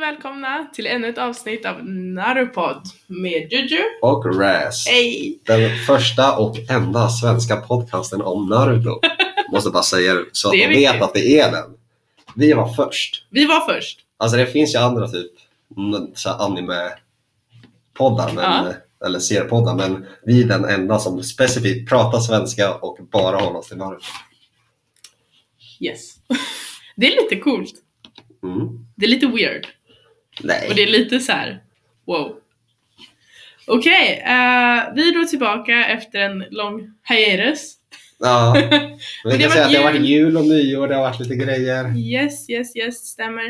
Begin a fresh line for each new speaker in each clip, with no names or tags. välkomna till ännu ett avsnitt av Narupod med Juju.
och Raz.
Hej!
Den första och enda svenska podcasten om Naruto. Måste bara säga det så att
Det är
de
viktigt.
vet att det är den. Vi var först.
Vi var först.
Alltså det finns ju andra typ mm, så här anime-poddar men, eller seriepoddar men vi är den enda som specifikt pratar svenska och bara håller oss till Naruto.
Yes. Det är lite coolt.
Mm.
Det är lite weird. Och
Nej.
det är lite så här. wow. Okej, eh, vi är då tillbaka efter en lång hiatus.
Ja. Vi
det har
kan säga att det har
varit
varit jul och nyår, det har varit lite grejer.
Yes, yes, yes, stämmer.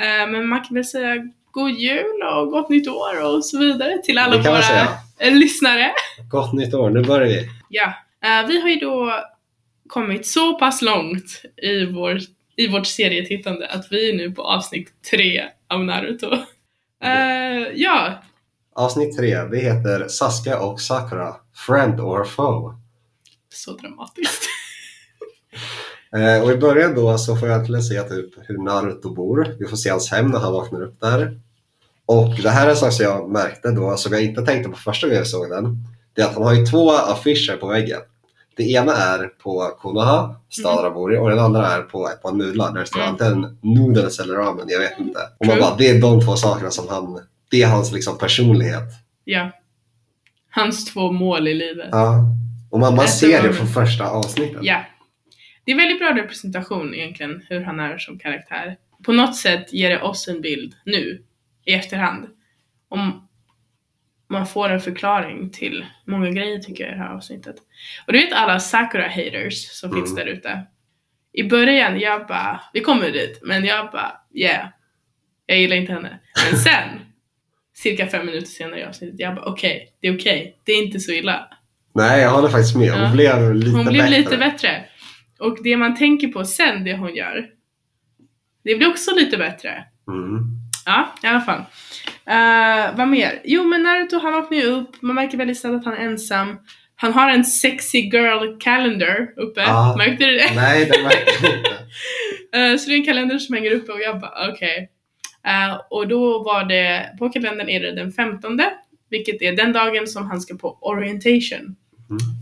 Eh, men man kan väl säga god jul och gott nytt år och så vidare till alla
Det kan man
våra
säga.
eh, lyssnare.
Gott nytt år, nu börjar vi.
Ja, eh, vi har ju då kommit så pass långt i, vår, i vårt serietittande att vi är nu på avsnitt tre av Naruto. Eh, ja,
Avsnitt tre, det heter Sasuke och Sakura, Friend or Foe.
så dramatiskt.
Eh, och i början då så får jag äntligen se typ hur Naruto bor. Vi får se hans hem när han vaknar upp där. Och det här är en sak som jag märkte då, som jag inte tänkte på första gången jag såg den. Det är att han har ju två affischer på väggen. Det ena är på Konoha, staden han bor i, och den andra är på ett par nudlar där det står
Mm.
antingen noodles eller ramen, jag vet inte. Och man
True.
bara, det är de två sakerna som han, det är hans liksom personlighet.
Ja. Hans två mål i livet.
Ja. Och man, man
Äter
ser det
ramen.
från första avsnittet.
Ja. Det är väldigt bra representation egentligen, hur han är som karaktär. På något sätt ger det oss en bild nu, i efterhand. Om man får en förklaring till många grejer tycker jag i det här avsnittet. Och du vet alla Sakura-haters som
Mm.
finns där ute. I början, jag bara, vi kommer dit, men jag bara, yeah. Jag gillar inte henne. Men sen, cirka fem minuter senare i avsnittet, jag bara, okej, det är okej. Det är inte så illa.
Nej, jag håller faktiskt med. Hon
Ja.
blev lite
Hon blev
bättre.
lite bättre. Och det man tänker på sen, det hon gör, det blir också lite bättre.
Mm.
Ja, i alla fall. Eh, vad mer? Jo, men Naruto han vaknar ju upp, man märker väldigt snabbt att han är ensam. Han har en sexy girl calendar uppe,
Ja.
märkte du det?
Nej, det märkte jag inte.
Eh, så det är en kalender som hänger uppe och jag bara okej. Eh, och då var det, på kalendern är det den 15, vilket är den dagen som han ska på orientation.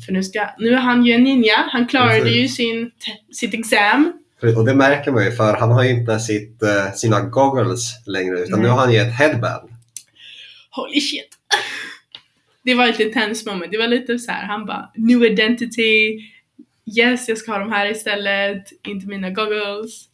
För nu, ska, nu är han ju en ninja, han klarade
Precis.
ju sin, te- sitt exam.
För- Och det märker man ju för han har ju inte sitt, eh, sina goggles längre utan
Nej.
nu har han ju ett headband.
Holy shit! Det var ett intens moment, det var lite så här, han bara new identity, yes jag ska ha de här istället, inte mina goggles.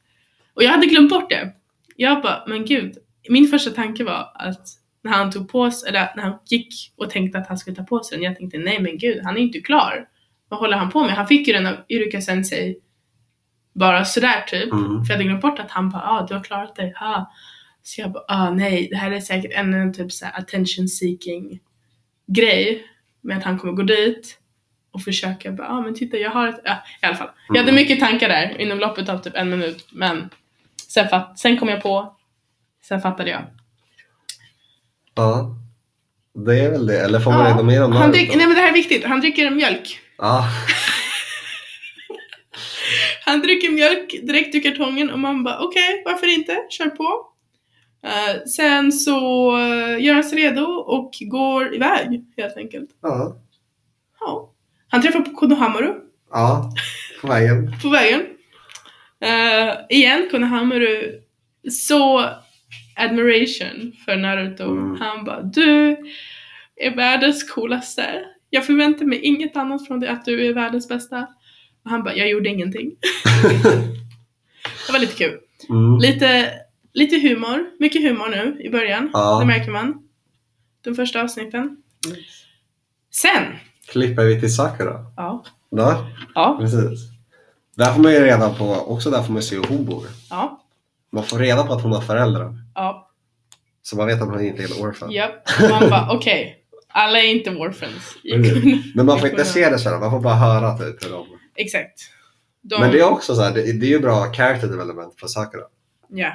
Och jag hade glömt bort det. Jag bara, men gud, min första tanke var att när han tog på sig, eller när han gick och tänkte att han skulle ta på sig den, jag tänkte nej men gud, han är inte klar. Vad håller han på med? Han fick ju den av Iruka sensei bara sådär typ.
Mm.
För jag hade glömt bort att han bara ah, du har klarat dig, ha. Så jag bara ah, nej, det här är säkert ännu en typ så här attention seeking grej. Med att han kommer gå dit och försöka bara ah, men titta jag har ett, ja, i alla fall. Jag hade
Mm.
mycket tankar där inom loppet av typ en minut men sen, fatt, sen kom jag på, sen fattade jag.
Ja. Det är väl det. Eller får man
Ja.
reda mer om
Han
Naruto?
dricker, nej men det här är viktigt, han dricker mjölk.
Ja.
Han dricker mjölk direkt ur kartongen och man bara okej, varför inte? Kör på. Eh, sen så eh, gör han sig redo och går iväg helt enkelt.
Ja.
Ja. Han träffar på Konohamaru
ja. På vägen.
på vägen. Eh, igen, Konohamaru så admiration för Naruto.
Mm.
Han bara du är världens coolaste. Jag förväntar mig inget annat från dig, att du är världens bästa. Och han bara, jag gjorde ingenting. det var lite kul.
Mm.
Lite, lite humor, mycket humor nu i början.
Ja.
Det märker man. De första avsnitten. Sen!
Klipper vi till Sakura.
Ja.
Ja,
Ja.
precis. Där får man ju reda på, också där får man se hur hon bor.
Ja.
Man får reda på att hon har föräldrar.
Ja.
Så man vet att hon inte är en orphan.
Japp. Man bara okej. Alla är inte warfans.
Precis. Men man får inte se det sen, man får bara höra typ hur de...
Exakt. De,
Men det är också så här, det, det är ju bra character development för Sakura.
ja.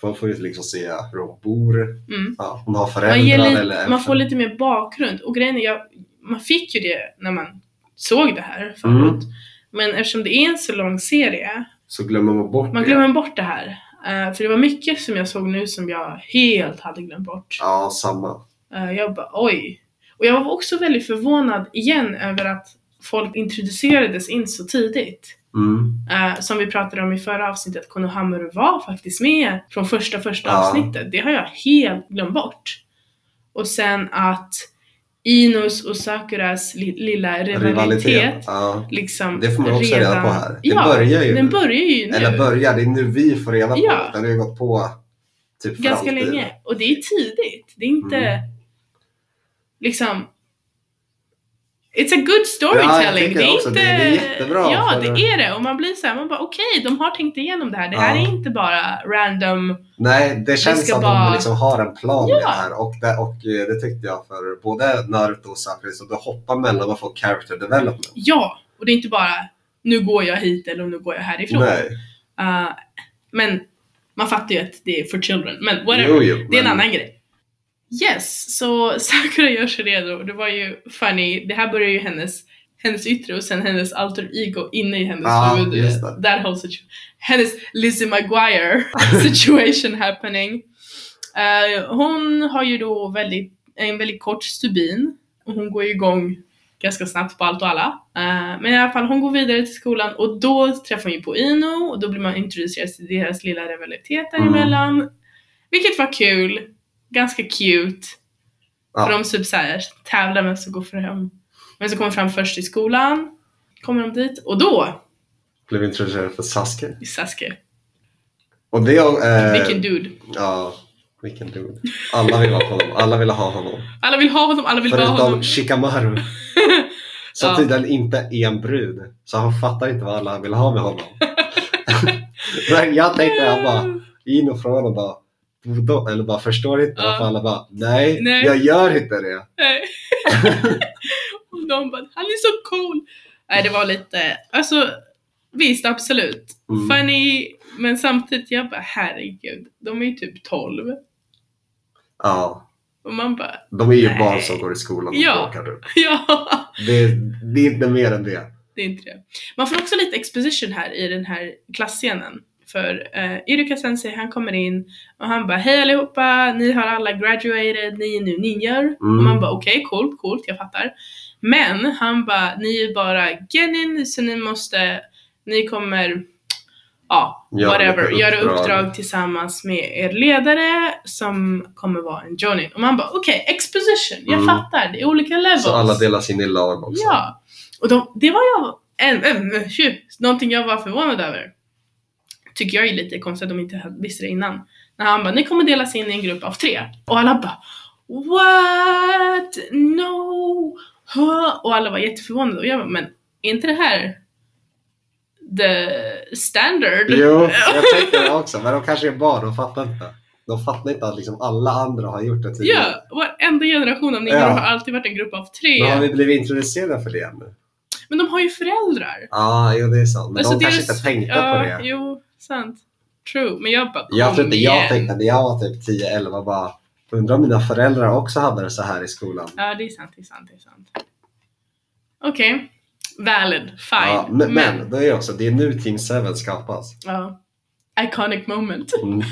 För man får ju liksom se hur hon bor,
mm.
ja, hon har
man, ger lite,
föräldrar eller
man får lite mer bakgrund. Och grejen är, jag, man fick ju det när man såg det här
Mm.
förut. Men eftersom det är en så lång serie
Så glömmer man bort
Man
det.
glömmer bort det här. Eh, för det var mycket som jag såg nu som jag helt hade glömt bort.
Ja, samma.
Eh, jag bara oj. Och jag var också väldigt förvånad igen över att folk introducerades in så tidigt.
Mm.
Eh, som vi pratade om i förra avsnittet, Konohamaru var faktiskt med från första första
Ja.
avsnittet. Det har jag helt glömt bort. Och sen att Inos och Sakuras li- lilla rivalitet,
Ja.
liksom
Det får man också reda på här. Det
ja,
börjar ju
den
nu.
börjar ju nu.
Eller börjar, det är nu vi får reda på
Ja.
det. Den har ju gått på typ för
ganska
alltid.
länge. Och det är tidigt. Det är inte
Mm.
liksom It's a good
Ja, jag
storytelling.
tycker också det. Det är jättebra
Ja,
för-
det är det. Och man blir så här, man bara okej, de har tänkt igenom det här. Det här
Ja.
är inte bara random.
Nej, det känns
ska
som att
bara-
de liksom har en plan med
Ja.
det här. Och det, och eh, det tyckte jag för både Naruto och Sakura. Så du hoppar mellan och får character development.
Ja, och det är inte bara nu går jag hit eller nu går jag härifrån.
Nej.
Uh, men man fattar ju att det är for children. Men whatever.
Jo, jo,
Det är en
men-
annan grej. Yes, så Sakura gör sig redo. Det var ju funny. Det här börjar ju hennes, hennes yttre och sen hennes alter ego inne i hennes
Ja,
huvud.
Ah, just det.
That whole situation. Hennes Lizzie Maguire situation happening. Eh, hon har ju då väldigt, Eh, en väldigt kort stubin och hon går ju igång ganska snabbt på allt och alla. Eh, men i alla fall, hon går vidare till skolan och då träffar hon ju på Ino och då blir man introducerad till deras lilla rivalitet
Mm.
däremellan. Vilket var kul. Ganska cute.
Ja.
För de typ så här, tävlar vem som går fram. Vem som kommer fram först i skolan. Kommer de dit och då,
Blev introducerad för Sasuke.
Sasuke.
Och det... Eh,
Vilken dude.
Ja, vilken dude. Alla vill ha honom. Alla vill ha honom.
Alla vill ha honom, alla vill vara
Förutom
honom.
Shikamaru. Som
Ja.
tydligen inte är en brud. Så han fattar inte vad alla vill ha med honom. Men jag tänkte jag bara, in och från och bara, "Budo", eller bara förstår inte
Ja.
varför alla bara, nej,
Nej.
jag gör inte det.
Nej. och de bara, han är så cool. Nej, det var lite, alltså visst absolut.
Mm.
Funny, men samtidigt jag bara herregud, de är ju typ 12.
Ja,
Och man bara,
de är ju
Nej.
barn som går i skolan och
Ja.
åker upp.
ja.
Det, det är inte mer än det.
Det är inte det. Man får också lite exposition här i den här klasscenen. För eh, Iruka sensei han kommer in och han bara Hej allihopa, ni har alla graduated, ni är nu ninjor.
Mm.
Och man bara okej, coolt, coolt, jag fattar. Men han bara ni är bara genin så ni måste, ni kommer, ja,
Göra
whatever,
lite
göra
uppdrag."
uppdrag tillsammans med er ledare som kommer vara en jonin. Och man bara okej, exposition, jag
Mm.
fattar, det är olika levels.
Så alla delas in i lag också.
Ja, och de, det var jag, en, en, en, tju, någonting jag var förvånad över. Tycker jag är lite konstigt att de inte hade- visste det innan. När han bara, ni kommer delas in i en grupp av tre. Och alla bara, what? No! Huh? Och alla var jätteförvånade. Och jag bara, men är inte det här the standard?
Jo, jag tänkte det också. Men de kanske är barn, de fattar inte. De fattar inte att liksom alla andra har gjort det tidigare.
Ja, varenda generation av ninjor
Ja.
har alltid varit en grupp av tre.
Men har vi blivit introducerade för det än nu?
Men de har ju föräldrar.
Ja, jo det är sant. Men
Alltså,
de kanske
deras-
inte tänkte
ja,
på det.
Jo, sant. True. Men jag bara,
Jag
kom
tror inte jag
igen.
tänkte när jag var typ 10-11 bara Undrar om mina föräldrar också hade det så här i skolan.
Ja, det är sant, det är sant, det är sant. Okej. Valid. Fine.
Ja, men, men det är också, det är nu Team 7 skapas.
Ja. Iconic moment.
Mm.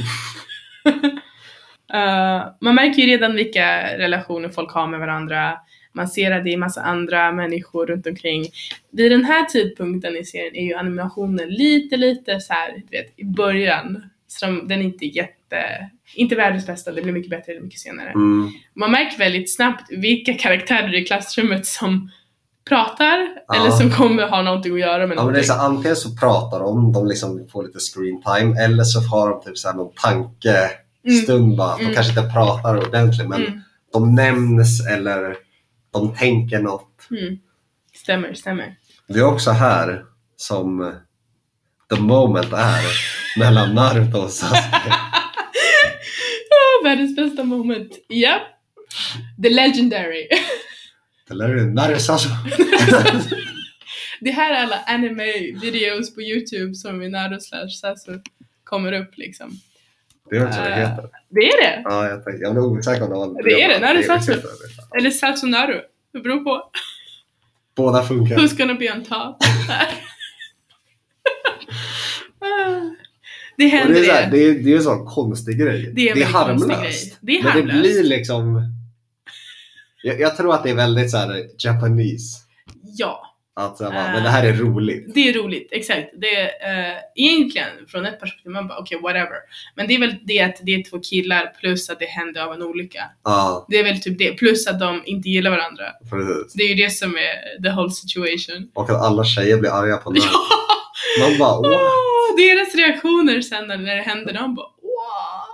Eh, man märker ju redan vilka relationer folk har med varandra. Man ser att det är massa andra människor runt omkring. Vid den här tidpunkten i serien är ju animationen lite, lite så här, du vet, i början. Så de, den är inte jätte, inte världens bästa, det blir mycket bättre mycket senare.
Mm.
man märker väldigt snabbt vilka karaktärer i klassrummet som pratar
Ja.
eller som kommer ha någonting att göra med
Ja, men det är
någonting.
så, antingen så pratar de, de liksom får lite screen time eller så har de typ så här någon tankestund bara. De
Mm.
kanske inte pratar ordentligt men
Mm.
de nämns eller de tänker något.
Mm. Stämmer, stämmer.
Det är också här som the moment är mellan Naruto och Sasuke.
Oh, världens bästa moment. Japp. The legendary.
Eller hur? Naruto Sasuke.
Det här är alla anime-videos på YouTube som i Naruto slash Sasu kommer upp liksom.
Det är också vad det
Äh.
heter.
Det är det!
Ja, jag, tänkte, jag blev osäker om det var
Det är det, Naruto
Jag vet
Sasuke.
inte vad det heter.
Eller Sasu Naru. Det beror på.
Båda funkar.
Who's gonna be on top? Ah. Det
Och
händer
det är, så här,
det.
det, är, det är en sån konstig grej.
Det är en väldigt konstig grej. Det är
Men det
harmlöst.
blir liksom... Jag, jag tror att det är väldigt så här Japanese.
Ja,
Att så här,
Ah.
bara, men det här är roligt.
det är roligt. Exakt. Det är, eh, egentligen från ett perspektiv, man bara okej, whatever. Men det är väl det att det är två killar plus att det hände av en olycka.
Ja,
Det är väl typ det. Plus att de inte gillar varandra.
precis.
Det är ju det som är the whole situation.
Och att alla tjejer blir arga på den.
Ja!
Man bara åh.
Åh, deras reaktioner sen när när det händer, de bara wow.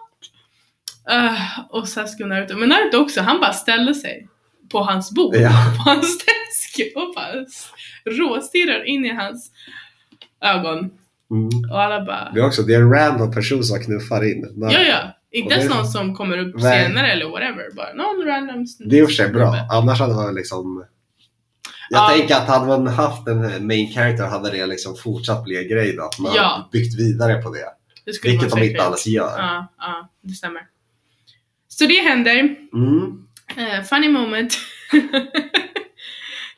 och Sasuke och Naruto. Men Naruto också, han bara ställer sig på hans bord,
Ja.
på hans desk och bara s- råstirrar in i hans ögon.
Mm.
Och alla bara
Det är också det är en random person som knuffar in. Men
ja ja. Inte
Och det-
ens någon som kommer upp
Nej.
senare eller whatever. Bara någon random sn-
Det är i och för sig bra.
snubbe.
Annars hade man liksom... Jag
Ja.
tänker att hade man haft en main character hade det liksom fortsatt bli en grej då. Att man
Ja.
hade byggt vidare på det.
Det skulle
Vilket
man
de
säkert-
inte alls gör.
Ja, ja, det stämmer. Så det händer.
Mm.
Eh, funny moment.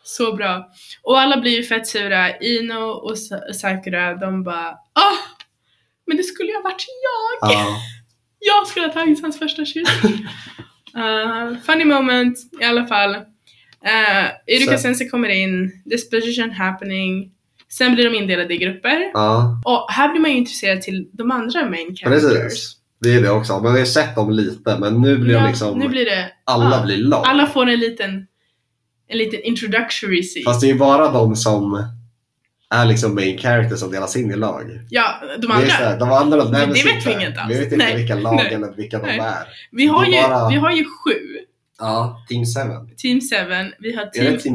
så bra. Och alla blir ju fett sura. Ino och Sa- Sakura, de bara ah! Men det skulle ju ha varit jag!
Ja.
Jag skulle ha tagit hans första kyss! Eh, funny moment i alla fall. Uh, Iruka
Så-
Sensei kommer in, disposition happening. Sen blir de indelade i grupper.
ja,
Och här blir man ju intresserad till de andra main characters.
precis. Det är det också. Man har ju sett dem lite men nu blir
Ja,
de liksom...
nu blir det,
alla
ja.
blir lag.
alla får en liten, en liten introductory scene.
Fast det är ju bara de som är liksom main characters som delas in i lag.
Ja, de
Det är så
andra.
här, de andra
Men
nämns
det vet
inte.
vi inget alls.
Vi vet inte
Nej.
vilka lag
Nej.
eller vilka de
Nej.
är.
Vi har,
det
ju,
är bara-
vi har ju sju.
Ja, Team 7.
Team 7, vi har
Är det
Team
Team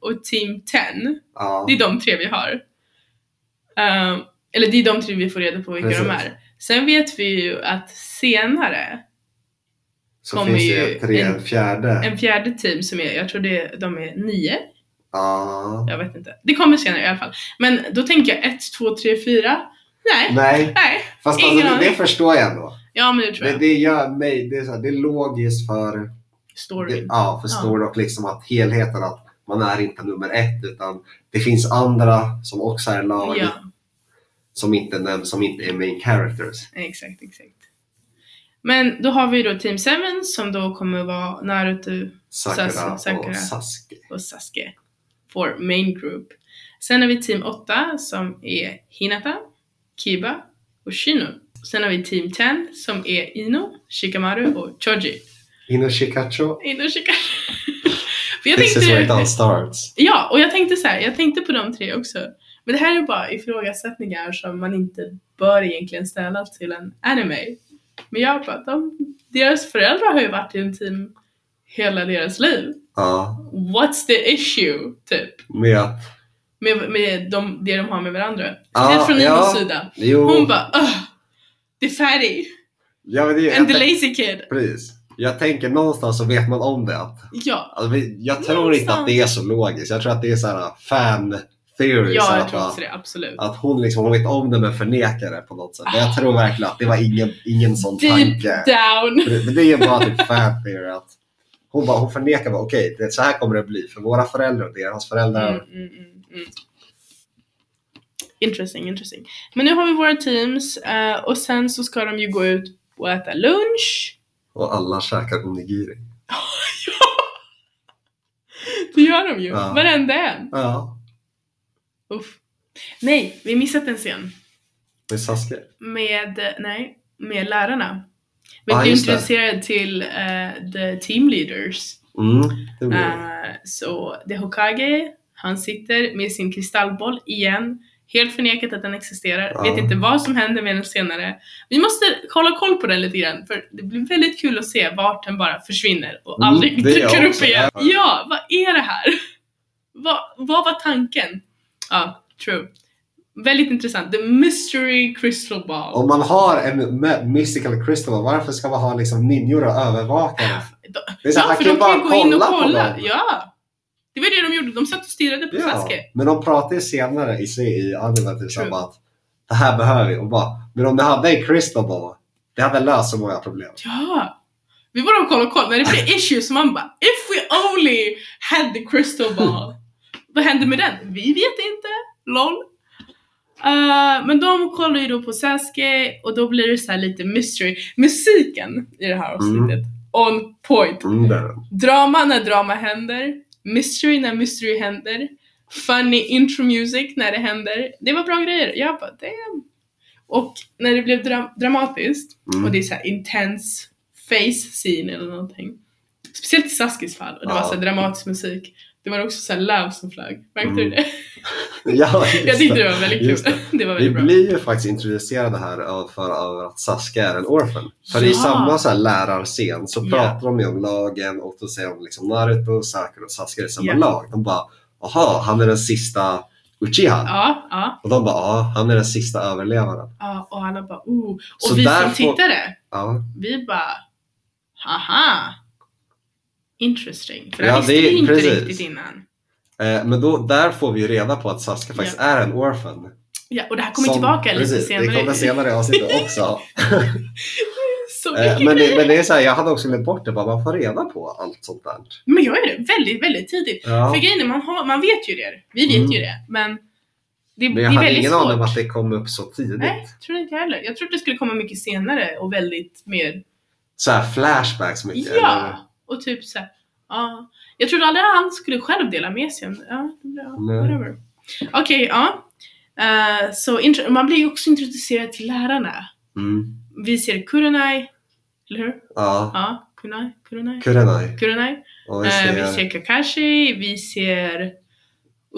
8 och Team 10.
Ja.
Det är de tre vi har. Ehm, eller det är de tre vi får reda på vilka de
Precis.
är. Sen vet vi ju att senare,
Så
kommer
finns
ju
det ju tre,
en-
en, fjärde.
en fjärde team som är, jag tror det, är- de är nio,
ja.
jag vet inte. Det kommer senare i alla fall. Men då tänker jag 1, 2, 3, 4. Nej,
Nej,
nej.
fast
Ingen
alltså, det, det
aning.
förstår jag ändå.
Ja men det tror
Det,
jag.
det gör mig, det är, så här, det är logiskt för, det,
Storyn.
ja, för story och liksom att helheten att man är inte nummer ett utan det finns andra som också är lag
Ja.
som inte nämns, som inte är main characters.
Exakt, exakt. Men då har vi då Team 7 som då kommer vara Naruto
Sakura,
Sas- Sakura.
och Sasuke.
och Sasuke. Vår main group. Sen har vi Team 8 som är Hinata, Kiba och Shino. Sen har vi Team 10 som är Ino, Shikamaru och Choji.
Inoshikacho.
Ino Shikamaru. För jag
This is where it all
tänkte,
starts.
ja, och jag tänkte så här, jag tänkte på de tre också. Men det här är bara ifrågasättningar som man inte bör egentligen ställa till en anime. Men jag bara, de, deras föräldrar har ju varit i en team hela deras liv.
Ja,
What's the issue? Typ.
med att...
Med, med de, det de har med varandra.
Ja,
Speciellt från
Ah, ja. Oh.
Ninos sida.
Jo,
Hon bara "Ugh, The fatty
ja, men det är ju-
and the
jag tänk-
lazy kid.
Precis. Jag tänker någonstans så vet man om det. Att
Ja,
Alltså, vi- jag tror inte att det är så logiskt. Jag tror att det är så här uh, fan theory. så Ah.
ja
här
jag tror
att,
också det. Absolut.
att hon liksom hon vet om det men förnekar det på något sätt. Men jag tror verkligen att det var ingen, ingen sån
Deep
tanke.
down.
För det- Men det är ju bara typ fan theory. Att hon, bara, hon förnekar bara okej, det så här kommer det bli för våra föräldrar och deras föräldrar.
Mm, mm, mm, mm. Interesting, interesting. Men nu har vi våra teams eh, och sen så ska de ju gå ut och äta lunch.
Och alla käkar onigiri.
Det gör de ju.
Ja.
Varenda en.
Ja,
Uff. Nej, vi missat en scen.
med Sasuke.
med, nej, med lärarna. Vi
Ja,
blev
Ah, just det.
introducerade till eh, the team leaders.
Mm, det blir det.
Eh, så det är Hokage, han sitter med sin kristallboll igen. Helt förnekat att den existerar.
Ja.
Vet inte vad som händer med den senare. Vi måste hålla koll på den lite grann för det blir väldigt kul att se vart den bara försvinner och
Mm,
aldrig
det är
dyker
jag
upp
också.
igen.
Ja.
Ja, vad är det här? Vad, vad var tanken? Ja, true. Väldigt intressant. The mystery crystal ball.
Om man har en ma- mystical crystal, varför ska man ha liksom ninjor och övervakare? Det är så här,
Ja,
han
för
kan
de
ju bara
kan gå in och
kolla på
kolla.
dem.
Ja. Det var det de gjorde, de satt och stirrade på
Ja,
Sasuke.
men de pratar ju senare i sig i anime typ
True.
som att det här behöver vi och bara, men om det hade en crystal ball, det hade löst så många problem.
Ja. Vi bara kollade och kollade, när det blev issues man bara If we only had the crystal ball. Vad hände med den? Vi vet inte. LOL. Eh, men de kollar ju då på Sasuke och då blir det så här lite mystery. Musiken i det här avsnittet, on point.
Mm, där. är den.
Drama när drama händer, mystery när mystery händer, funny intro music när det händer. Det var bra grejer. Jag bara damn. Och när det blev dra- dramatiskt
Mm.
och det är så här intense face scene eller någonting. Speciellt i Saskis fall och det var
Ja.
så här dramatisk musik. Det var också så här löv som flög. Märkte du
Mm.
det?
Ja, just
Jag tyckte det var väldigt
Just
kul. Det, var
Vi
väldigt bra.
blir ju faktiskt introducerade här av, för, av att Saskia är en orphan. För i
Ja.
samma så här lärarscen så
Ja.
pratar de ju om lagen och då säger de liksom Naruto, Sakura och Saskia är i samma
Ja.
lag. De bara, aha, han är den sista Uchiha.
Ja, ja,
Och de bara, ja, han är den sista överlevaren.
ja. Och alla bara oh. Och
Så
vi
där
som
får-
tittare,
Ja,
vi bara aha. Interesting. För det
Ja,
visste
det-
vi inte
precis.
riktigt innan.
eh, men då, där får vi ju reda på att Saskia faktiskt är en orphan.
Ja, och det här kommer
Som-
tillbaka lite
precis,
senare.
Det kommer senare i avsnittet också.
Så mycket
Eh, men,
grejer.
det, men det är så här, jag hade också glömt bort det, bara, man får reda på allt sånt där.
Men jag är det väldigt, väldigt tidigt.
Ja.
För grejen är, man, har, man vet ju det. Vi vet
Mm.
ju det. Men det, det
Men jag
är
hade
väldigt
ingen aning om
svårt.
att det kom upp så tidigt.
Nej, tror inte jag heller. Jag trodde det skulle komma mycket senare och väldigt mer,
så här flashbacks mycket. eller?
ja! Och typ såhär, ja. Jag trodde aldrig att han skulle själv dela med sig. om- Ja, det blir- ja,
Nej.
whatever. Okej, ja. Eh, så intro- man blir ju också introducerad till lärarna.
Mm.
Vi ser Kurenai, eller hur?
Ja,
Ja, Kurenai, Kurenai,
Kurenai.
Kurenai.
Och vi
Eh,
ser,
vi ser Kakashi, vi ser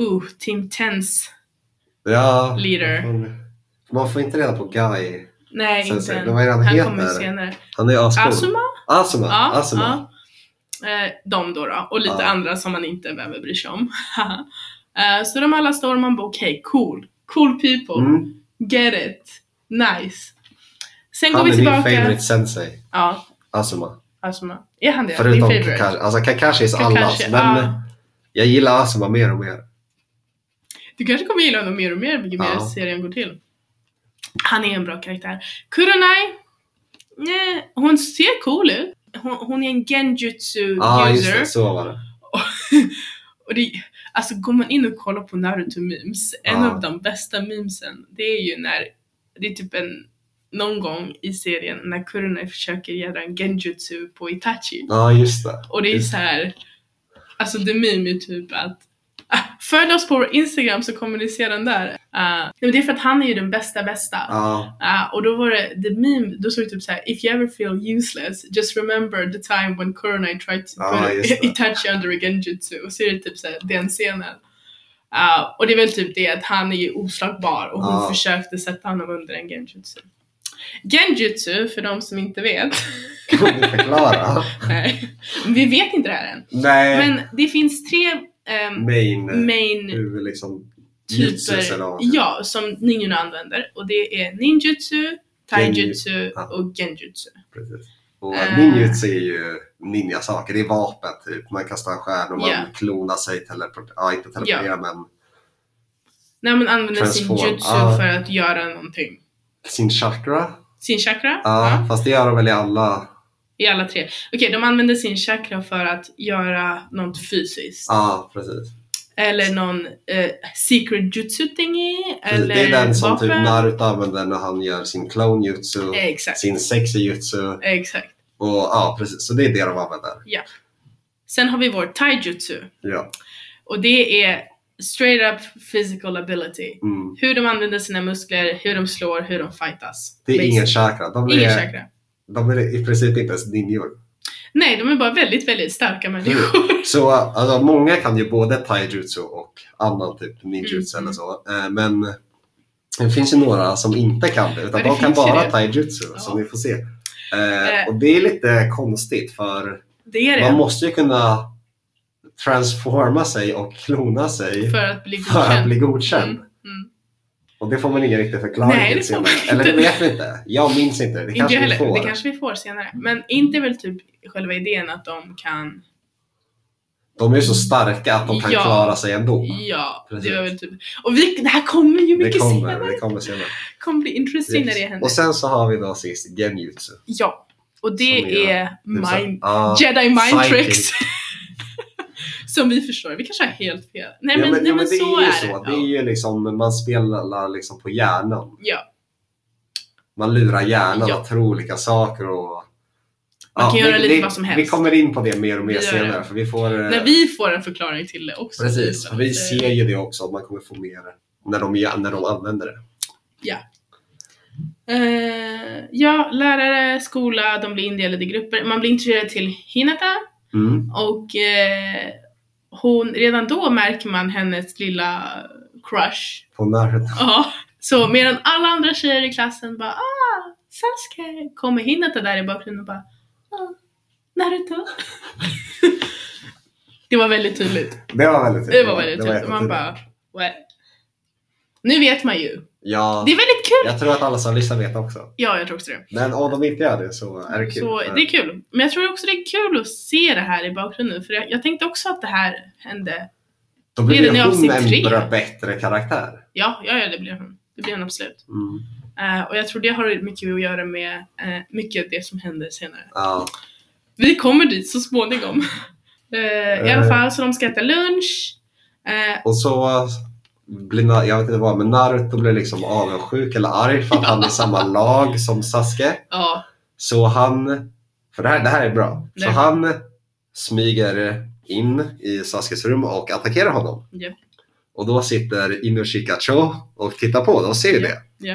uh, Team Tens.
ja,
Leader.
Man får inte reda på Guy.
Nej,
Sen
inte
ser-
än.
vad är det han
han
heter?
kommer senare.
Han är ju ascool.
Asuma?
Asuma.
Ja.
Asuma.
ja. Eh, de då, då och lite
Ja.
andra som man inte behöver bry sig om. eh, så de alla står och man bara okej, cool. Cool people.
Mm.
Get it. Nice. Sen går
Han
vi
är min
tillbaka.
favorite sensei.
Ja,
Asuma.
Asuma. Är han det?
Förutom
Din favorite?
Kakashi. Alltså Kakashi är
Kakashi,
allas. Men
ja.
jag gillar Asuma mer och mer.
Du kanske kommer gilla honom mer och mer ju mer
Ja.
serien går till. Han är en bra karaktär. Kuronai, nej, hon ser cool ut. Hon, hon är en genjutsu
Ja, ah, just
user.
det. Så var det.
och det, alltså går man in och kollar på Naruto memes, en
Ja.
av de bästa memesen, det är ju när, det är typ en, någon gång i serien när Kuronai försöker göra en genjutsu på Itachi.
Ja, just det.
Och det är
Just-
så här. Alltså det meme är typ att ah, Följ oss på vår Instagram så kommer ni se den där. Uh, nej, men det är för att han är ju den bästa bästa.
Ja,
Ah, och då var det, the meme, då såg det typ såhär If you ever feel useless, just remember the time when Kuronai tried to
Ja,
put
Ah, just det.
Itachi under a genjutsu. Och så är det typ såhär den scenen. Ah, och det är väl typ det att han är ju oslagbar och hon
Ja.
försökte sätta honom under en genjutsu. Genjutsu, för de som inte vet.
kan du förklara?
Nej, vi vet inte det här än.
Nej,
Men det finns tre ehm,
main, eh,
main
hur liksom, jutsus
typer
eller vad?
ja, som ninjorna använder och det är ninjutsu, taijutsu
ja.
och genjutsu.
Precis. Och
Eh.
ninjutsu är ju ninjasaker, det är vapen typ. Man kastar stjärnor, man
Ja.
klonar sig, teleport- ja inte teleportera men
När man använder sin
Transform, Ah.
jutsu
ja.
för att göra någonting.
sin chakra.
Sin chakra?
Ja,
Ja,
fast det gör de väl i alla.
I alla tre. Okej, de använder sin chakra för att göra något fysiskt.
Ja, precis.
Eller någon eh, secret jutsu thingy.
precis.
Eller
Det är den som
vapen. Eh.
typ Naruto använder när han gör sin klonjutsu,
Exakt,
sin sexijutsu
exakt.
och ja, precis. Så det är det de använder.
Sen har vi vår taijutsu
Ja.
och det är straight up physical ability.
Mm.
hur de använder sina muskler, hur de slår, hur de fightas.
Det är
Basic.
ingen chakra. De
Ingen
är,
chakra.
de är i princip inte ens ninjor.
Nej, de är bara väldigt, väldigt starka människor.
Så alltså, många kan ju både taijutsu och annan typ ninjutsu
Mm.
eller så. Eh, Men det finns ju några som inte kan det, utan
Ja, det
de kan
finns ju
bara
det.
taijutsu
Ja.
som vi får se. Eh,
Eh.
Och det är lite konstigt för
Det är
man
det.
måste ju kunna transforma sig och klona sig för,
För att bli
att
godkänd.
bli godkänd.
Mm, mm.
Och det får man ingen riktig förklaring
Nej,
till
det får man
senare.
inte.
Eller det vet vi inte. Jag minns inte. Det
Inte
kanske
jag
vi
heller.
får.
Det kanske vi får senare. Men inte väl typ själva idén att de kan...
De är ju så starka att de kan
Ja.
klara sig ändå.
Ja,
Oh. Precis.
det var väl typ... Och vi, det här kommer ju
Det
mycket
kommer,
senare.
det kommer senare.
kommer bli intressant när det händer.
Och sen så har vi då sist genjutsu.
ja. Och
Som
det
gör-
är
Typ så här,
mind...
ah,
Jedi mind
psychic.
tricks. Som vi förstår, vi kanske har helt fel. Nej
ja,
men, nej,
ja,
men
det
så
är ju
är
så.
det.
Det är ju liksom, man spelar liksom på hjärnan.
Ja.
Man lurar hjärnan
Ja.
att tro olika saker och...
Man kan göra
vi-
lite
vi,
vad som
Vi
helst.
kommer in på det mer och mer
Vi gör
senare
det.
för vi får... eh,
När vi får en förklaring till det också.
Precis,
Så
för vi
att, eh,
ser ju det också att man kommer få mer när de, när de använder det.
Eh, ja, lärare, skola, de blir indelade i grupper. Man blir introducerad till Hinata
Mm.
och eh, hon, redan då märker man hennes lilla crush.
På Naruto.
Ja. Så medan alla andra tjejer i klassen bara ah, Sasuke kommer Hinata där i bakgrunden och bara ah, Naruto. det var väldigt tydligt.
Det var väldigt
Det var väldigt tydligt.
jättetydligt.
Man bara What? Nu vet man ju.
Ja,
Det är väldigt kul.
jag tror att alla som lyssnar vet också.
Ja, jag tror också det.
Men om de inte gör det så är det kul.
Så det är kul. Men jag tror också det är kul att se det här i bakgrunden. För jag, jag tänkte också att det här hände.
Då blir
det är
ju
när
hon
avsnitt tre.
en bra- bättre karaktär.
Ja, ja, ja det blev hon. Det blev hon absolut.
Mm.
Eh, och jag tror det har mycket att göra med eh, mycket av det som händer senare.
Ja.
Vi kommer dit så småningom. Eh, I alla
Eh.
fall, så de ska äta lunch. Eh,
Och så blir, Na- jag vet inte vad, men Naruto blir liksom avundsjuk eller arg för att han är i samma lag som Sasuke.
ja,
Så han, för det här, det här är bra, så
Nej.
han smyger in i Saskes rum och attackerar honom.
Ja.
Och då sitter Inoshika Cho och tittar på, de ser ju
Ja,
det.
ja.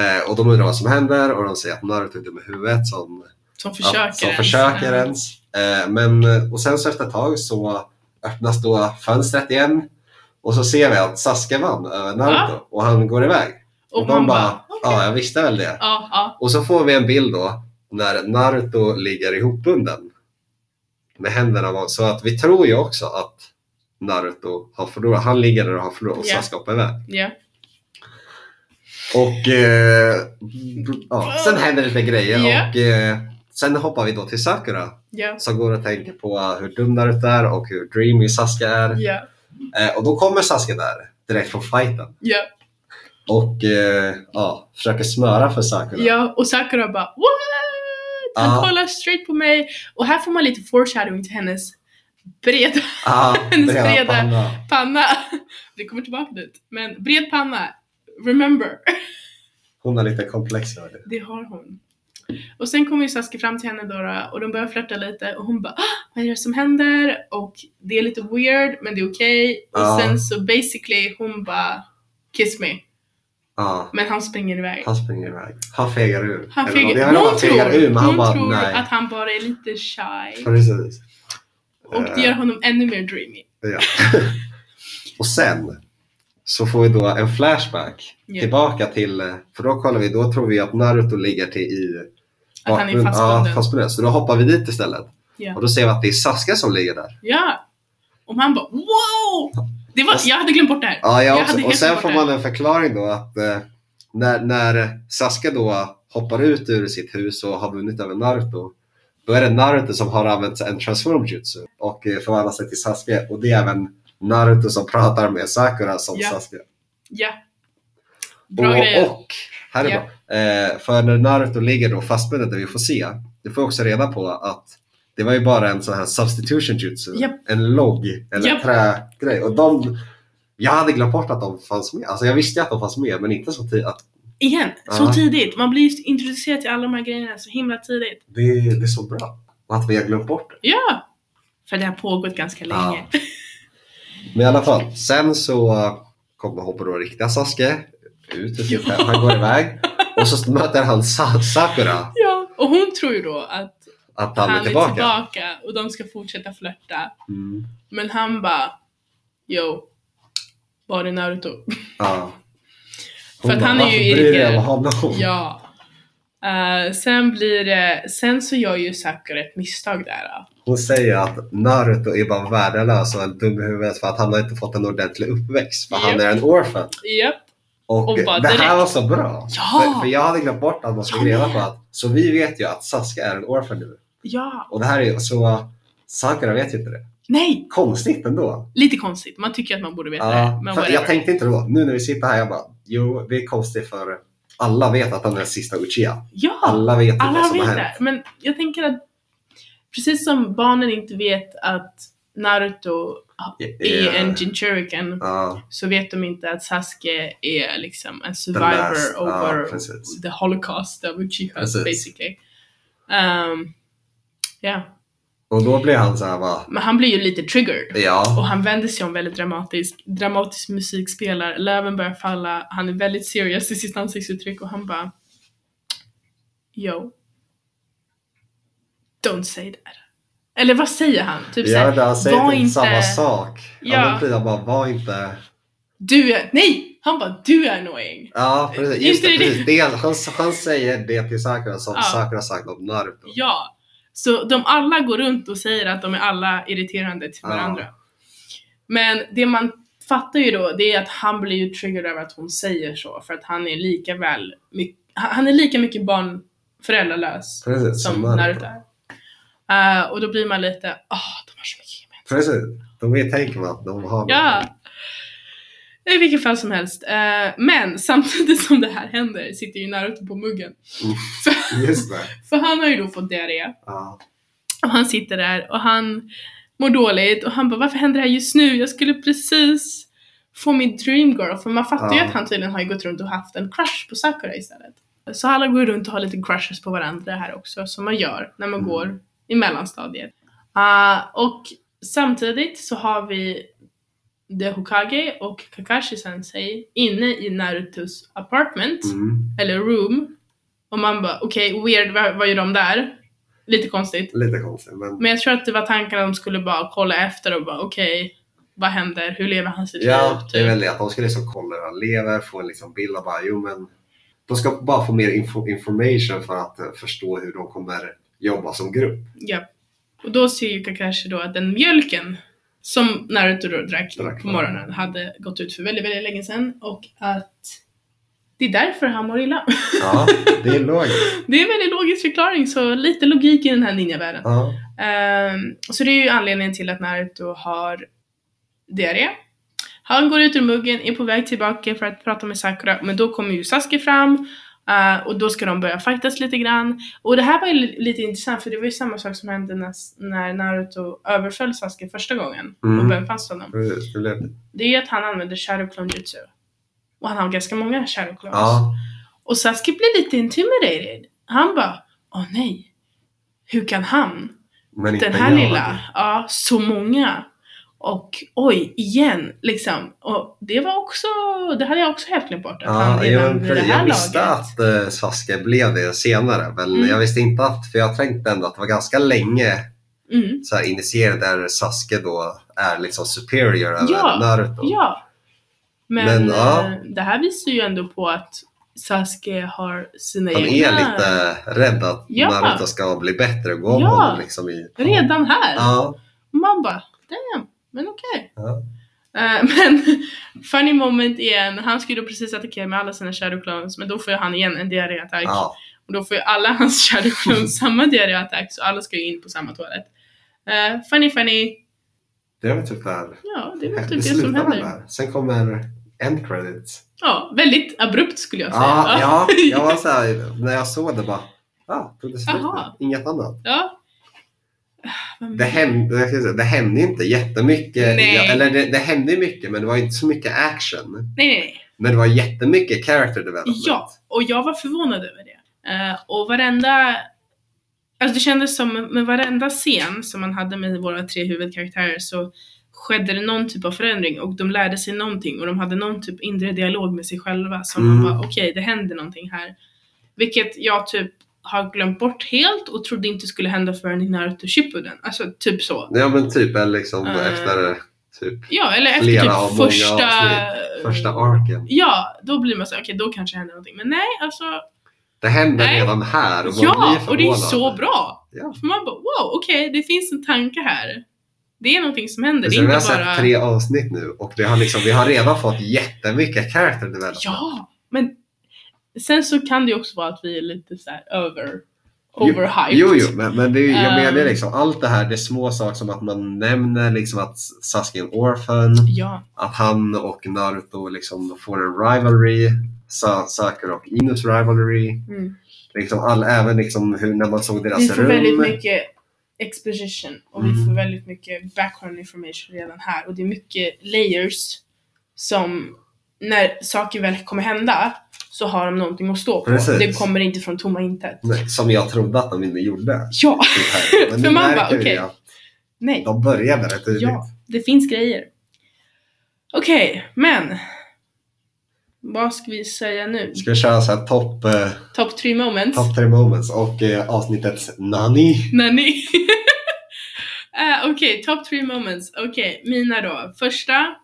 Eh, och de undrar vad som händer och de säger att Naruto är dum i huvudet som,
som försöker.
ja, som
ens.
försöker
Eh,
ens. Eh, men, och sen så efter ett tag så öppnas då fönstret igen och så ser vi att Saske vann över Naruto och han går iväg.
Och, man bara,
ja jag visste väl det.
ja, ja.
Och så får vi en bild då när Naruto ligger ihopbunden med händerna var- så att vi tror ju också att Naruto har förlorat. Han ligger där och har förlorat och
Ja.
Sasuke hoppar iväg.
ja.
Och eh, b- ja, sen händer lite grejer
Ja.
och eh, sen hoppar vi då till Sakura
Ja.
som går och tänker på hur dum Naruto är och hur dreamy Sasuke är.
Ja.
Eh, och då kommer Sasuke där direkt från fighten
Ja.
och eh, ja, försöker smöra för Sakura.
Ja, och Sakura bara what? Han
Ja.
kollar straight på mig. Och här får man lite foreshadowing till hennes breda
Ah,
Hennes
breda
breda-
panna.
panna. Vi kommer tillbaka dit. Men bred panna, remember.
Hon har lite komplex över det.
Det har hon. Och sen kommer ju Sasuke fram till henne då och de börjar flirta lite och hon bara ah, vad är det som händer? Och det är lite weird men det är okej.
Ja.
Och sen så basically hon bara kiss me.
Ja,
Men han springer iväg.
han springer iväg. Han fegar ur.
Han
Eller vad-
fegar,
jag
hon
vet inte om han fegar ur,
tror,
men han
hon
bara
tror
nej.
att han bara är lite shy.
Precis.
Och det
Eh,
gör honom ännu mer dreamy.
ja. och sen så får vi då en flashback
Ja.
tillbaka till, eh, för då kollar vi, då tror vi att Naruto ligger till i
Att han är
bakgrund-
fastbunden.
Ja, fastbunden. Så då hoppar vi dit istället.
Ja.
Och då ser vi att det är Sasuke som ligger där.
Ja! Och man bara wow! Det var,
Och-
jag hade glömt bort det här.
Ja, jag
Jag
också.
hade
Och
helt
sen
glömt
får
bort
man en förklaring då att eh, när, när Sasuke då hoppar ut ur sitt hus och har vunnit över Naruto, då är det Naruto som har använt en transform jutsu och eh, förvandlat sig till Sasuke och det är även Naruto som pratar med Sakura som
Ja.
Sasuke.
Ja. Bra grejer.
Och, och här är
Ja.
bra. Eh, för när Naruto ligger då fastbunden där vi får se, du får också reda på att det var ju bara en sån här substitution jutsu.
Japp.
En logg eller
Japp.
trägrej. Och de, jag hade glömt bort att de fanns med. Alltså jag visste att de fanns med men inte så tidigt. att
Igen, så
Ja.
tidigt. Man blir introducerad till alla de här grejerna så himla tidigt.
Det, det är så bra. Och att vi har glömt bort det.
Ja! För det har pågått ganska
Ja.
länge.
Men i alla fall, sen så kommer hoppar då riktiga Sasuke ut ur sitt
Ja.
hem. Han går iväg. Och så möter han Sa- Sakura
Ja. Och hon tror ju då att
att han,
han,
är tillbaka.
och de ska fortsätta flörta.
Mm.
Men han bara Yo, var är Naruto?
Oh. Ja.
För att han är ju
"Varför bryr du dig
irriterad."
om honom?
Ja. Eh, sen blir det, sen så gör ju Sakura ett misstag där. då.
Hon säger att Naruto är bara värdelös och en dum i huvudet för att han har inte fått en ordentlig uppväxt för han
Japp.
är en orphan.
Japp.
Och,
Och bara
det här
direkt-
var så bra!
Ja!
För, för jag hade glömt bort att man fick
Jag
reda
med.
på att, så vi vet ju att Sasuke är en orphan nu.
Ja.
Och det här är ju så, Sakura vet ju inte det.
Nej!
Konstigt ändå.
Lite konstigt. Man tycker att man borde veta det.
Ja,
Men
för jag
whatever.
tänkte inte då, nu när vi sitter här, jag bara, jo det är konstigt för alla vet att han är sista Uchiha.
ja!
Alla vet ju
Alla
vad som
vet
har
det.
hänt.
Men jag tänker att precis som barnen inte vet att Naruto är en Jinchuriken
Ja,
så vet de inte att Sasuke är liksom en
The
survivor
last.
over
Ja, precis.
the holocaust of Uchiha
Precis.
basically. Um, ja.
Och då blir han så här va,
Men han blir ju lite triggered. Och
ja,
han vänder sig om väldigt dramatiskt. Dramatisk musik spelar, löven börjar falla, han är väldigt serious i sitt ansiktsuttryck och han bara Yo. Don't say that. Eller vad säger han? Typ
ja
såhär,
men han säger
var
typ
inte-
samma sak.
Ja.
Ja. men precis, han bara, var inte...
du är, nej! Han bara, du är annoying.
Ja, precis.
Just
Just det,
det, det-
precis. Det, han, han säger det till Sakura som
Ja.
Sakura sagt om Naruto.
Ja. Så de alla går runt och säger att de är alla irriterande till
Ja.
varandra. Men det man fattar ju då, det är att han blir ju triggered över att hon säger så. För att han är lika väl, my- han han är lika mycket barn föräldralös
Precis,
som Naruto är. Eh, och då blir man lite, ah, de har så mycket gemensamt.
Precis. De är, tänker man att de har
Ja! I vilket fall som helst. Eh, men samtidigt som det här händer sitter ju Naruto på muggen.
Mm.
För,
något. Just det.
för han har ju då fått diarré.
Ja.
Och han sitter där och han mår dåligt och han bara varför händer det här just nu? Jag skulle precis få min dream girl. För man fattar ju
Ja.
att han tydligen har ju gått runt och haft en crush på Sakura istället. Så alla går runt och har lite crushes på varandra här också som man gör när man
Mm.
går i mellanstadiet. Ah, och samtidigt så har vi The Hokage och Kakashi sensei inne i Narutos apartment
Mm.
eller room och man bara okej weird vad, vad gör de där? Lite konstigt.
Lite konstigt. Men...
Men jag tror att det var tanken att de skulle bara kolla efter och bara okej, vad händer? Hur lever han sitt
Ja, det
liv? Typ.
är väl det. Att de ska liksom kolla hur han lever, få en liksom bild av bara, jo men. De ska bara få mer info information för att eh, förstå hur de kommer jobba som grupp.
Ja. Och då ser ju Kakashi då att den mjölken som Naruto då drack
Drack,
på
ja.
morgonen hade gått ut för väldigt, väldigt länge sedan och att det är därför han mår illa.
Ja, det är logiskt.
Det är en väldigt logisk förklaring, så lite logik i den här ninjavärlden.
Ja.
Ehm, så det är ju anledningen till att Naruto har diarré. Han går ut ur muggen, är på väg tillbaka för att prata med Sakura, men då kommer ju Sasuke fram eh, och då ska de börja fightas lite grann. Och det här var ju li- lite intressant för det var ju samma sak som hände när, när Naruto överföll Sasuke första gången och
Mm.
band fast honom.
Precis, det blev...
Det är ju att han använder Shadow Clone Jutsu. Och han har ganska många Shadow Clones.
Ja,
Och Sasuke blir lite intimidated. Han bara, åh nej, hur kan han?
men inte
den här
jag.
lilla, ja, så många. Och oj, igen, liksom. Och det var också, det hade jag också helt glömt bort. Att han
Ja,
redan
jag,
vid det
jag,
här
visste
laget.
att eh, Sasuke blev det senare, men
Mm.
jag visste inte att, för jag tänkte ändå att det var ganska länge
Mm.
så här, initierad där Sasuke då är liksom superior över
Ja,
Naruto.
Ja. Men,
Men, ja.
eh, det här visar ju ändå på att Sasuke har sina
Han är
egna
lite rädd att
Ja.
Naruto ska bli bättre och gå om
Ja.
honom liksom i...
redan här.
Ja,
Och man bara, damn, men okej.
Ja.
Eh, men funny moment igen, han skulle ju då precis attackera med alla sina shadow clones men då får ju han igen en diarréattack.
ja,
Och då får ju alla hans shadow clones samma diarréattack så alla ska ju in på samma toalett. Eh, funny funny.
det är väl typ det här.
Ja, det var typ det, som
slutar väl
händer.
där. Sen kommer end credits.
Ja, väldigt abrupt skulle jag säga.
Ja, ja, jag var så här, när jag såg det bara, ja, tog det slut?
Jaha.
Inget annat.
Ja. Ah, vad
Det hände, jag ska säga, det hände inte jättemycket.
Nej.
Ja, eller det, det hände mycket, men det var inte så mycket action.
Nej, nej, nej.
Men det var jättemycket character development.
Ja, och jag var förvånad över det. Eh, och varenda... Alltså det kändes som med varenda scen som man hade med våra tre huvudkaraktärer så skedde det någon typ av förändring och de lärde sig någonting och de hade någon typ inre dialog med sig själva som
Mm.
man bara okej, det händer någonting här. Vilket jag typ har glömt bort helt och trodde inte skulle hända förrän i Naruto Shippuden. Alltså typ så.
Ja, men typ eller liksom
Eh.
efter typ
Ja, eller efter
Flera av
typ
många
första...
avsnitt. första arken.
Ja, då blir man så okej då kanske händer någonting. Men nej, alltså
Det hände
Nej.
redan här och man
Ja,
blir
och det är
förvånad.
så bra!
Ja.
För man bara wow, okej, det finns en tanke här. Det är någonting som händer, det
Så
är
vi
inte
har sett
bara...
tre avsnitt nu och det har liksom, vi har redan fått jättemycket character development.
Ja, men sen så kan det ju också vara att vi är lite så här över...
Jo,
Overhyped.
Jo, jo, men, men det, är ju- jag
Ehm.
menar liksom allt det här, det är små saker som att man nämner liksom att Sasuke är en orphan.
Ja,
att han och Naruto liksom får en rivalry, Sa- Sakura och Inus rivalry.
mm.
Liksom all, även liksom hur, när man såg deras
Vi får väldigt
rum.
mycket exposition och vi
Mm.
får väldigt mycket background information redan här och det är mycket layers som när saker väl kommer hända så har de någonting att stå på.
Precis.
Det kommer inte från tomma intet.
Nej, Som jag trodde att de inte gjorde.
Ja,
typ här. Men nu
För man bara,
märker vi
okej.
att
nej.
de började rätt tidigt.
Ja, det finns grejer. Okej, men. Vad ska vi säga nu?
Ska vi köra så här topp eh,
Top 3 moments?
top three moments och eh, avsnittets nani.
När ni... Eh, Okej, top 3 moments. Okej, mina då. Första.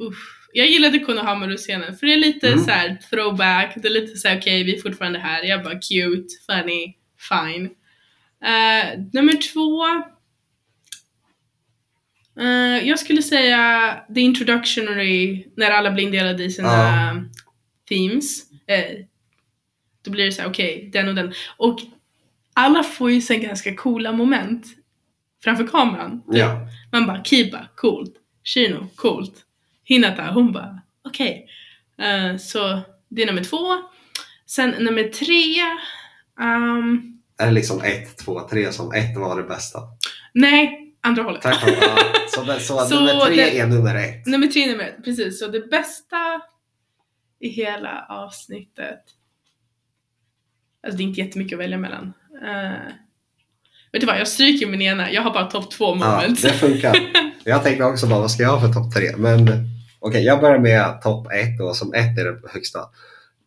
Uff. Jag gillade Konohamaru-scenen för det är lite
Mm.
så här throwback. Det är lite så här okej, vi är fortfarande här. Jag bara cute, funny, fine. Eh, nummer två. Eh, jag skulle säga the introductionary när alla blir indelade i sina
Ja.
themes. Eh, då blir det så här, okej, den och den. Och alla får ju sen ganska coola moment framför kameran.
Ja.
Man bara Kiba, coolt. Shino, coolt. Hinata, hon bara okej. Eh, så det är nummer två. Sen nummer tre. ehm,
Är det liksom ett, två, tre som ett var det bästa?
nej, andra hållet.
Tack för ja. Så, det- så,
Så
nummer tre
det-
är nummer ett.
Nummer tre, nummer ett. Precis, så det bästa i hela avsnittet. Alltså det är inte jättemycket att välja mellan. Eh, vet du vad, jag stryker min ena. Jag har bara topp två
Ja,
moment.
det funkar. Jag tänkte också bara, vad ska jag ha för topp tre? Men okej, jag börjar med topp ett då, som ett är det högsta.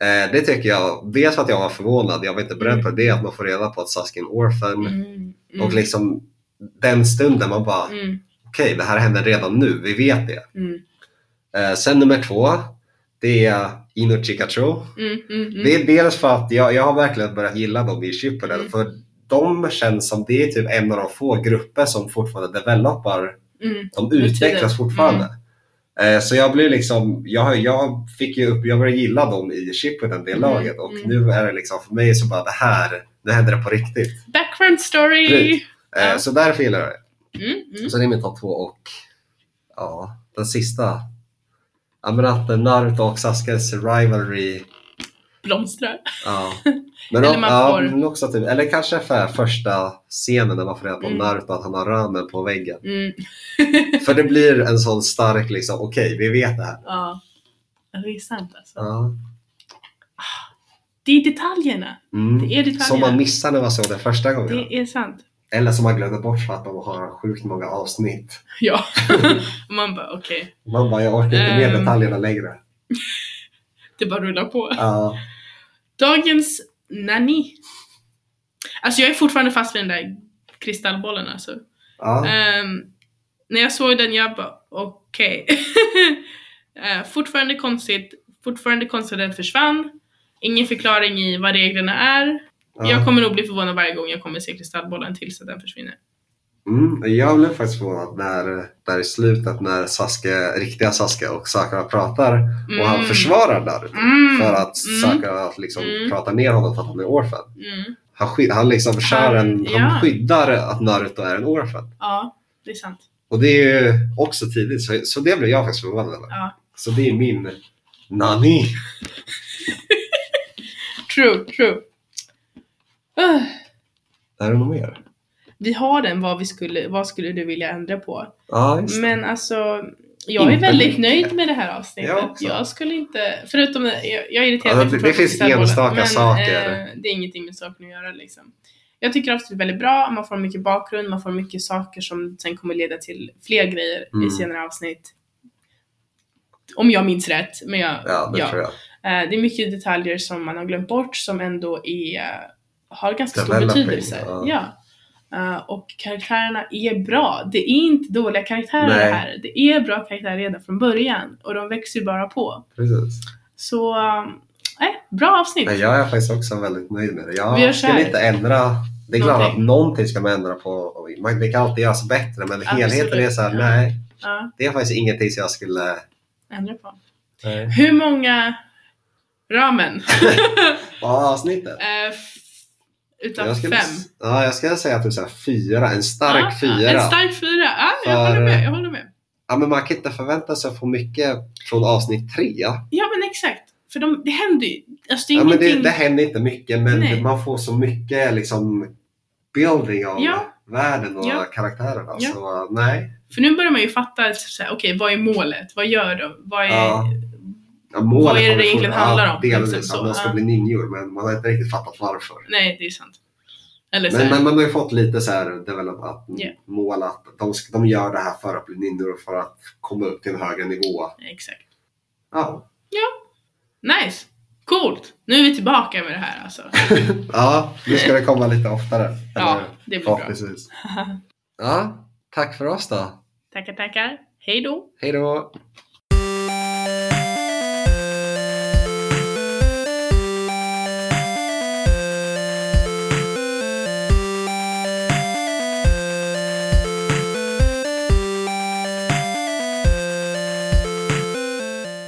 Eh, det tycker jag, dels för att jag var förvånad, jag var inte beredd på det, att man får reda på att Saskia är en orphan.
Mm, mm,
Och liksom den stunden man bara,
mm,
okej det här händer redan nu, vi vet det.
mm,
Eh, sen nummer två, det är Ino Chikachu.
mm, mm, mm.
Det är dels för att jag, jag har verkligen börjat gilla dem i Shippuden
Mm.
för de känns som det är typ en av de få grupper som fortfarande developar
Mm,
de
tiden.
utvecklas fortfarande.
Mm.
Eh, Så jag blir liksom, jag, har- jag fick ju upp, jag började gilla dem i Shippuden, det
Mm,
laget och
mm.
nu är det liksom för mig så bara det här, nu händer det på riktigt.
background story!
Precis. Eh,
Ja.
Så därför gillar jag det.
Mm, mm.
Så det är min topp två och ja, den sista. Ja men att Naruto och Saskes rivalry
Blomstrar.
Ja. Men
Eller
o-
man
ja,
får-
men också typ, eller kanske för första scenen när man får reda på
Mm.
Naruto att han har ramen på väggen.
Mm.
För det blir en sån stark liksom, okej vi vet det här.
Ja. Ja, Det är sant alltså.
Ja.
Det är detaljerna.
Mm.
Det är detaljerna.
Som man missade när man såg det första gången.
Det är sant.
Eller som man glömde bort för att de har sjukt många avsnitt.
Ja. Man bara okej.
Man bara, jag orkar inte med
Ehm.
detaljerna längre.
Det bara rullar på.
Ja.
Dagens nanny. Alltså jag är fortfarande fast vid den där kristallbollen alltså.
Ja.
Ehm, när jag såg den jag bara okej. Eh, fortfarande konstigt. Fortfarande konstigt att den försvann. Ingen förklaring i vad reglerna är. Jag
Ja.
kommer nog bli förvånad varje gång jag kommer se kristallbollen tills att den försvinner.
Mm. jag blev faktiskt förvånad när, där i slutet när Sasuke, riktiga Sasuke och Sakura pratar och han
Mm.
försvarar Naruto.
Mm.
För att
Mm.
Sakura liksom
Mm.
pratar ner honom för att han är orphan.
Mm.
Han, sky- han, liksom kör
Han-
en,
ja.
han skyddar att Naruto är en orphan.
Ja, det är sant.
Och det är ju också tidigt, så, så det blev jag faktiskt förvånad över.
Ja.
Så det är min nani.
True, true. Ah,
Är det något mer?
vi har den, vad, vi skulle, vad skulle du vilja ändra på?
Ja, just det.
Men alltså, jag är
Inte
väldigt
mycket.
nöjd med det här avsnittet.
Jag också.
jag skulle inte, förutom jag, jag är irriterad
Ja, det-
mig
det finns
fortfarande på
enstaka
kristallbollen,
saker.
Eh, det är ingenting med saken att göra liksom. Jag tycker avsnittet är väldigt bra, man får mycket bakgrund, man får mycket saker som sen kommer leda till fler grejer i
Mm.
senare avsnitt. Om jag minns rätt, men jag,
Ja, det
ja.
tror jag.
Eh, Det är mycket detaljer som man har glömt bort som ändå är, eh, har ganska stor
Developing,
betydelse.
ja.
Ja. Eh, Och karaktärerna är bra. Det är inte dåliga karaktärer
Nej.
det här. Det är bra karaktärer redan från början och de växer ju bara på.
Precis.
Så, nej, bra avsnitt.
Men jag är faktiskt också väldigt nöjd med det.
Vi gör
Jag
så här.
skulle inte ändra. Det är klart att
Någonting.
någonting ska man ändra på. Man, det kan alltid göras bättre men helheten är
Absolut.
så här,
Ja.
nej.
Ja,
Det är faktiskt ingenting som jag skulle...
ändra på. Hur många ramen?
Bara avsnittet.
Eh, f- Utav
Jag skulle,
fem?
Ja, jag skulle säga typ så här fyra, en stark
Ja,
fyra.
En stark fyra. Ja, jag
För-
håller med. Jag håller med.
Ja, men man kan inte förvänta sig för mycket från avsnitt tre. Ja,
Ja men exakt. För de, det händer ju. Alltså det är
men
ingenting.
det, det händer inte mycket, men
Nej.
man får så mycket liksom building av
Ja,
världen och
Ja.
karaktärerna.
Ja.
Så nej.
För nu börjar man ju fatta, typ så här, okej vad är målet? Vad gör de? Vad är...
Ja. Ja,
Vad är det det
kommer från-
egentligen handlar om?
Ja, delvis.
Liksom
att
så,
man ska
ja.
bli ninjor, men man har inte riktigt fattat varför.
Nej, det är sant. Eller så
Men,
här,
men man har ju fått lite så här develop, att
Ja.
mål att de, ska- de gör det här för att bli ninjor och för att komma upp till en högre nivå.
exakt.
Ja,
Nice! Coolt! Nu är vi tillbaka med det här alltså.
ja nu ska det komma lite oftare.
Ja,
Eller,
det blir bra.
förhoppningsvis. Ja, tack för oss då.
Tackar, tackar. Hej då!
Hej då!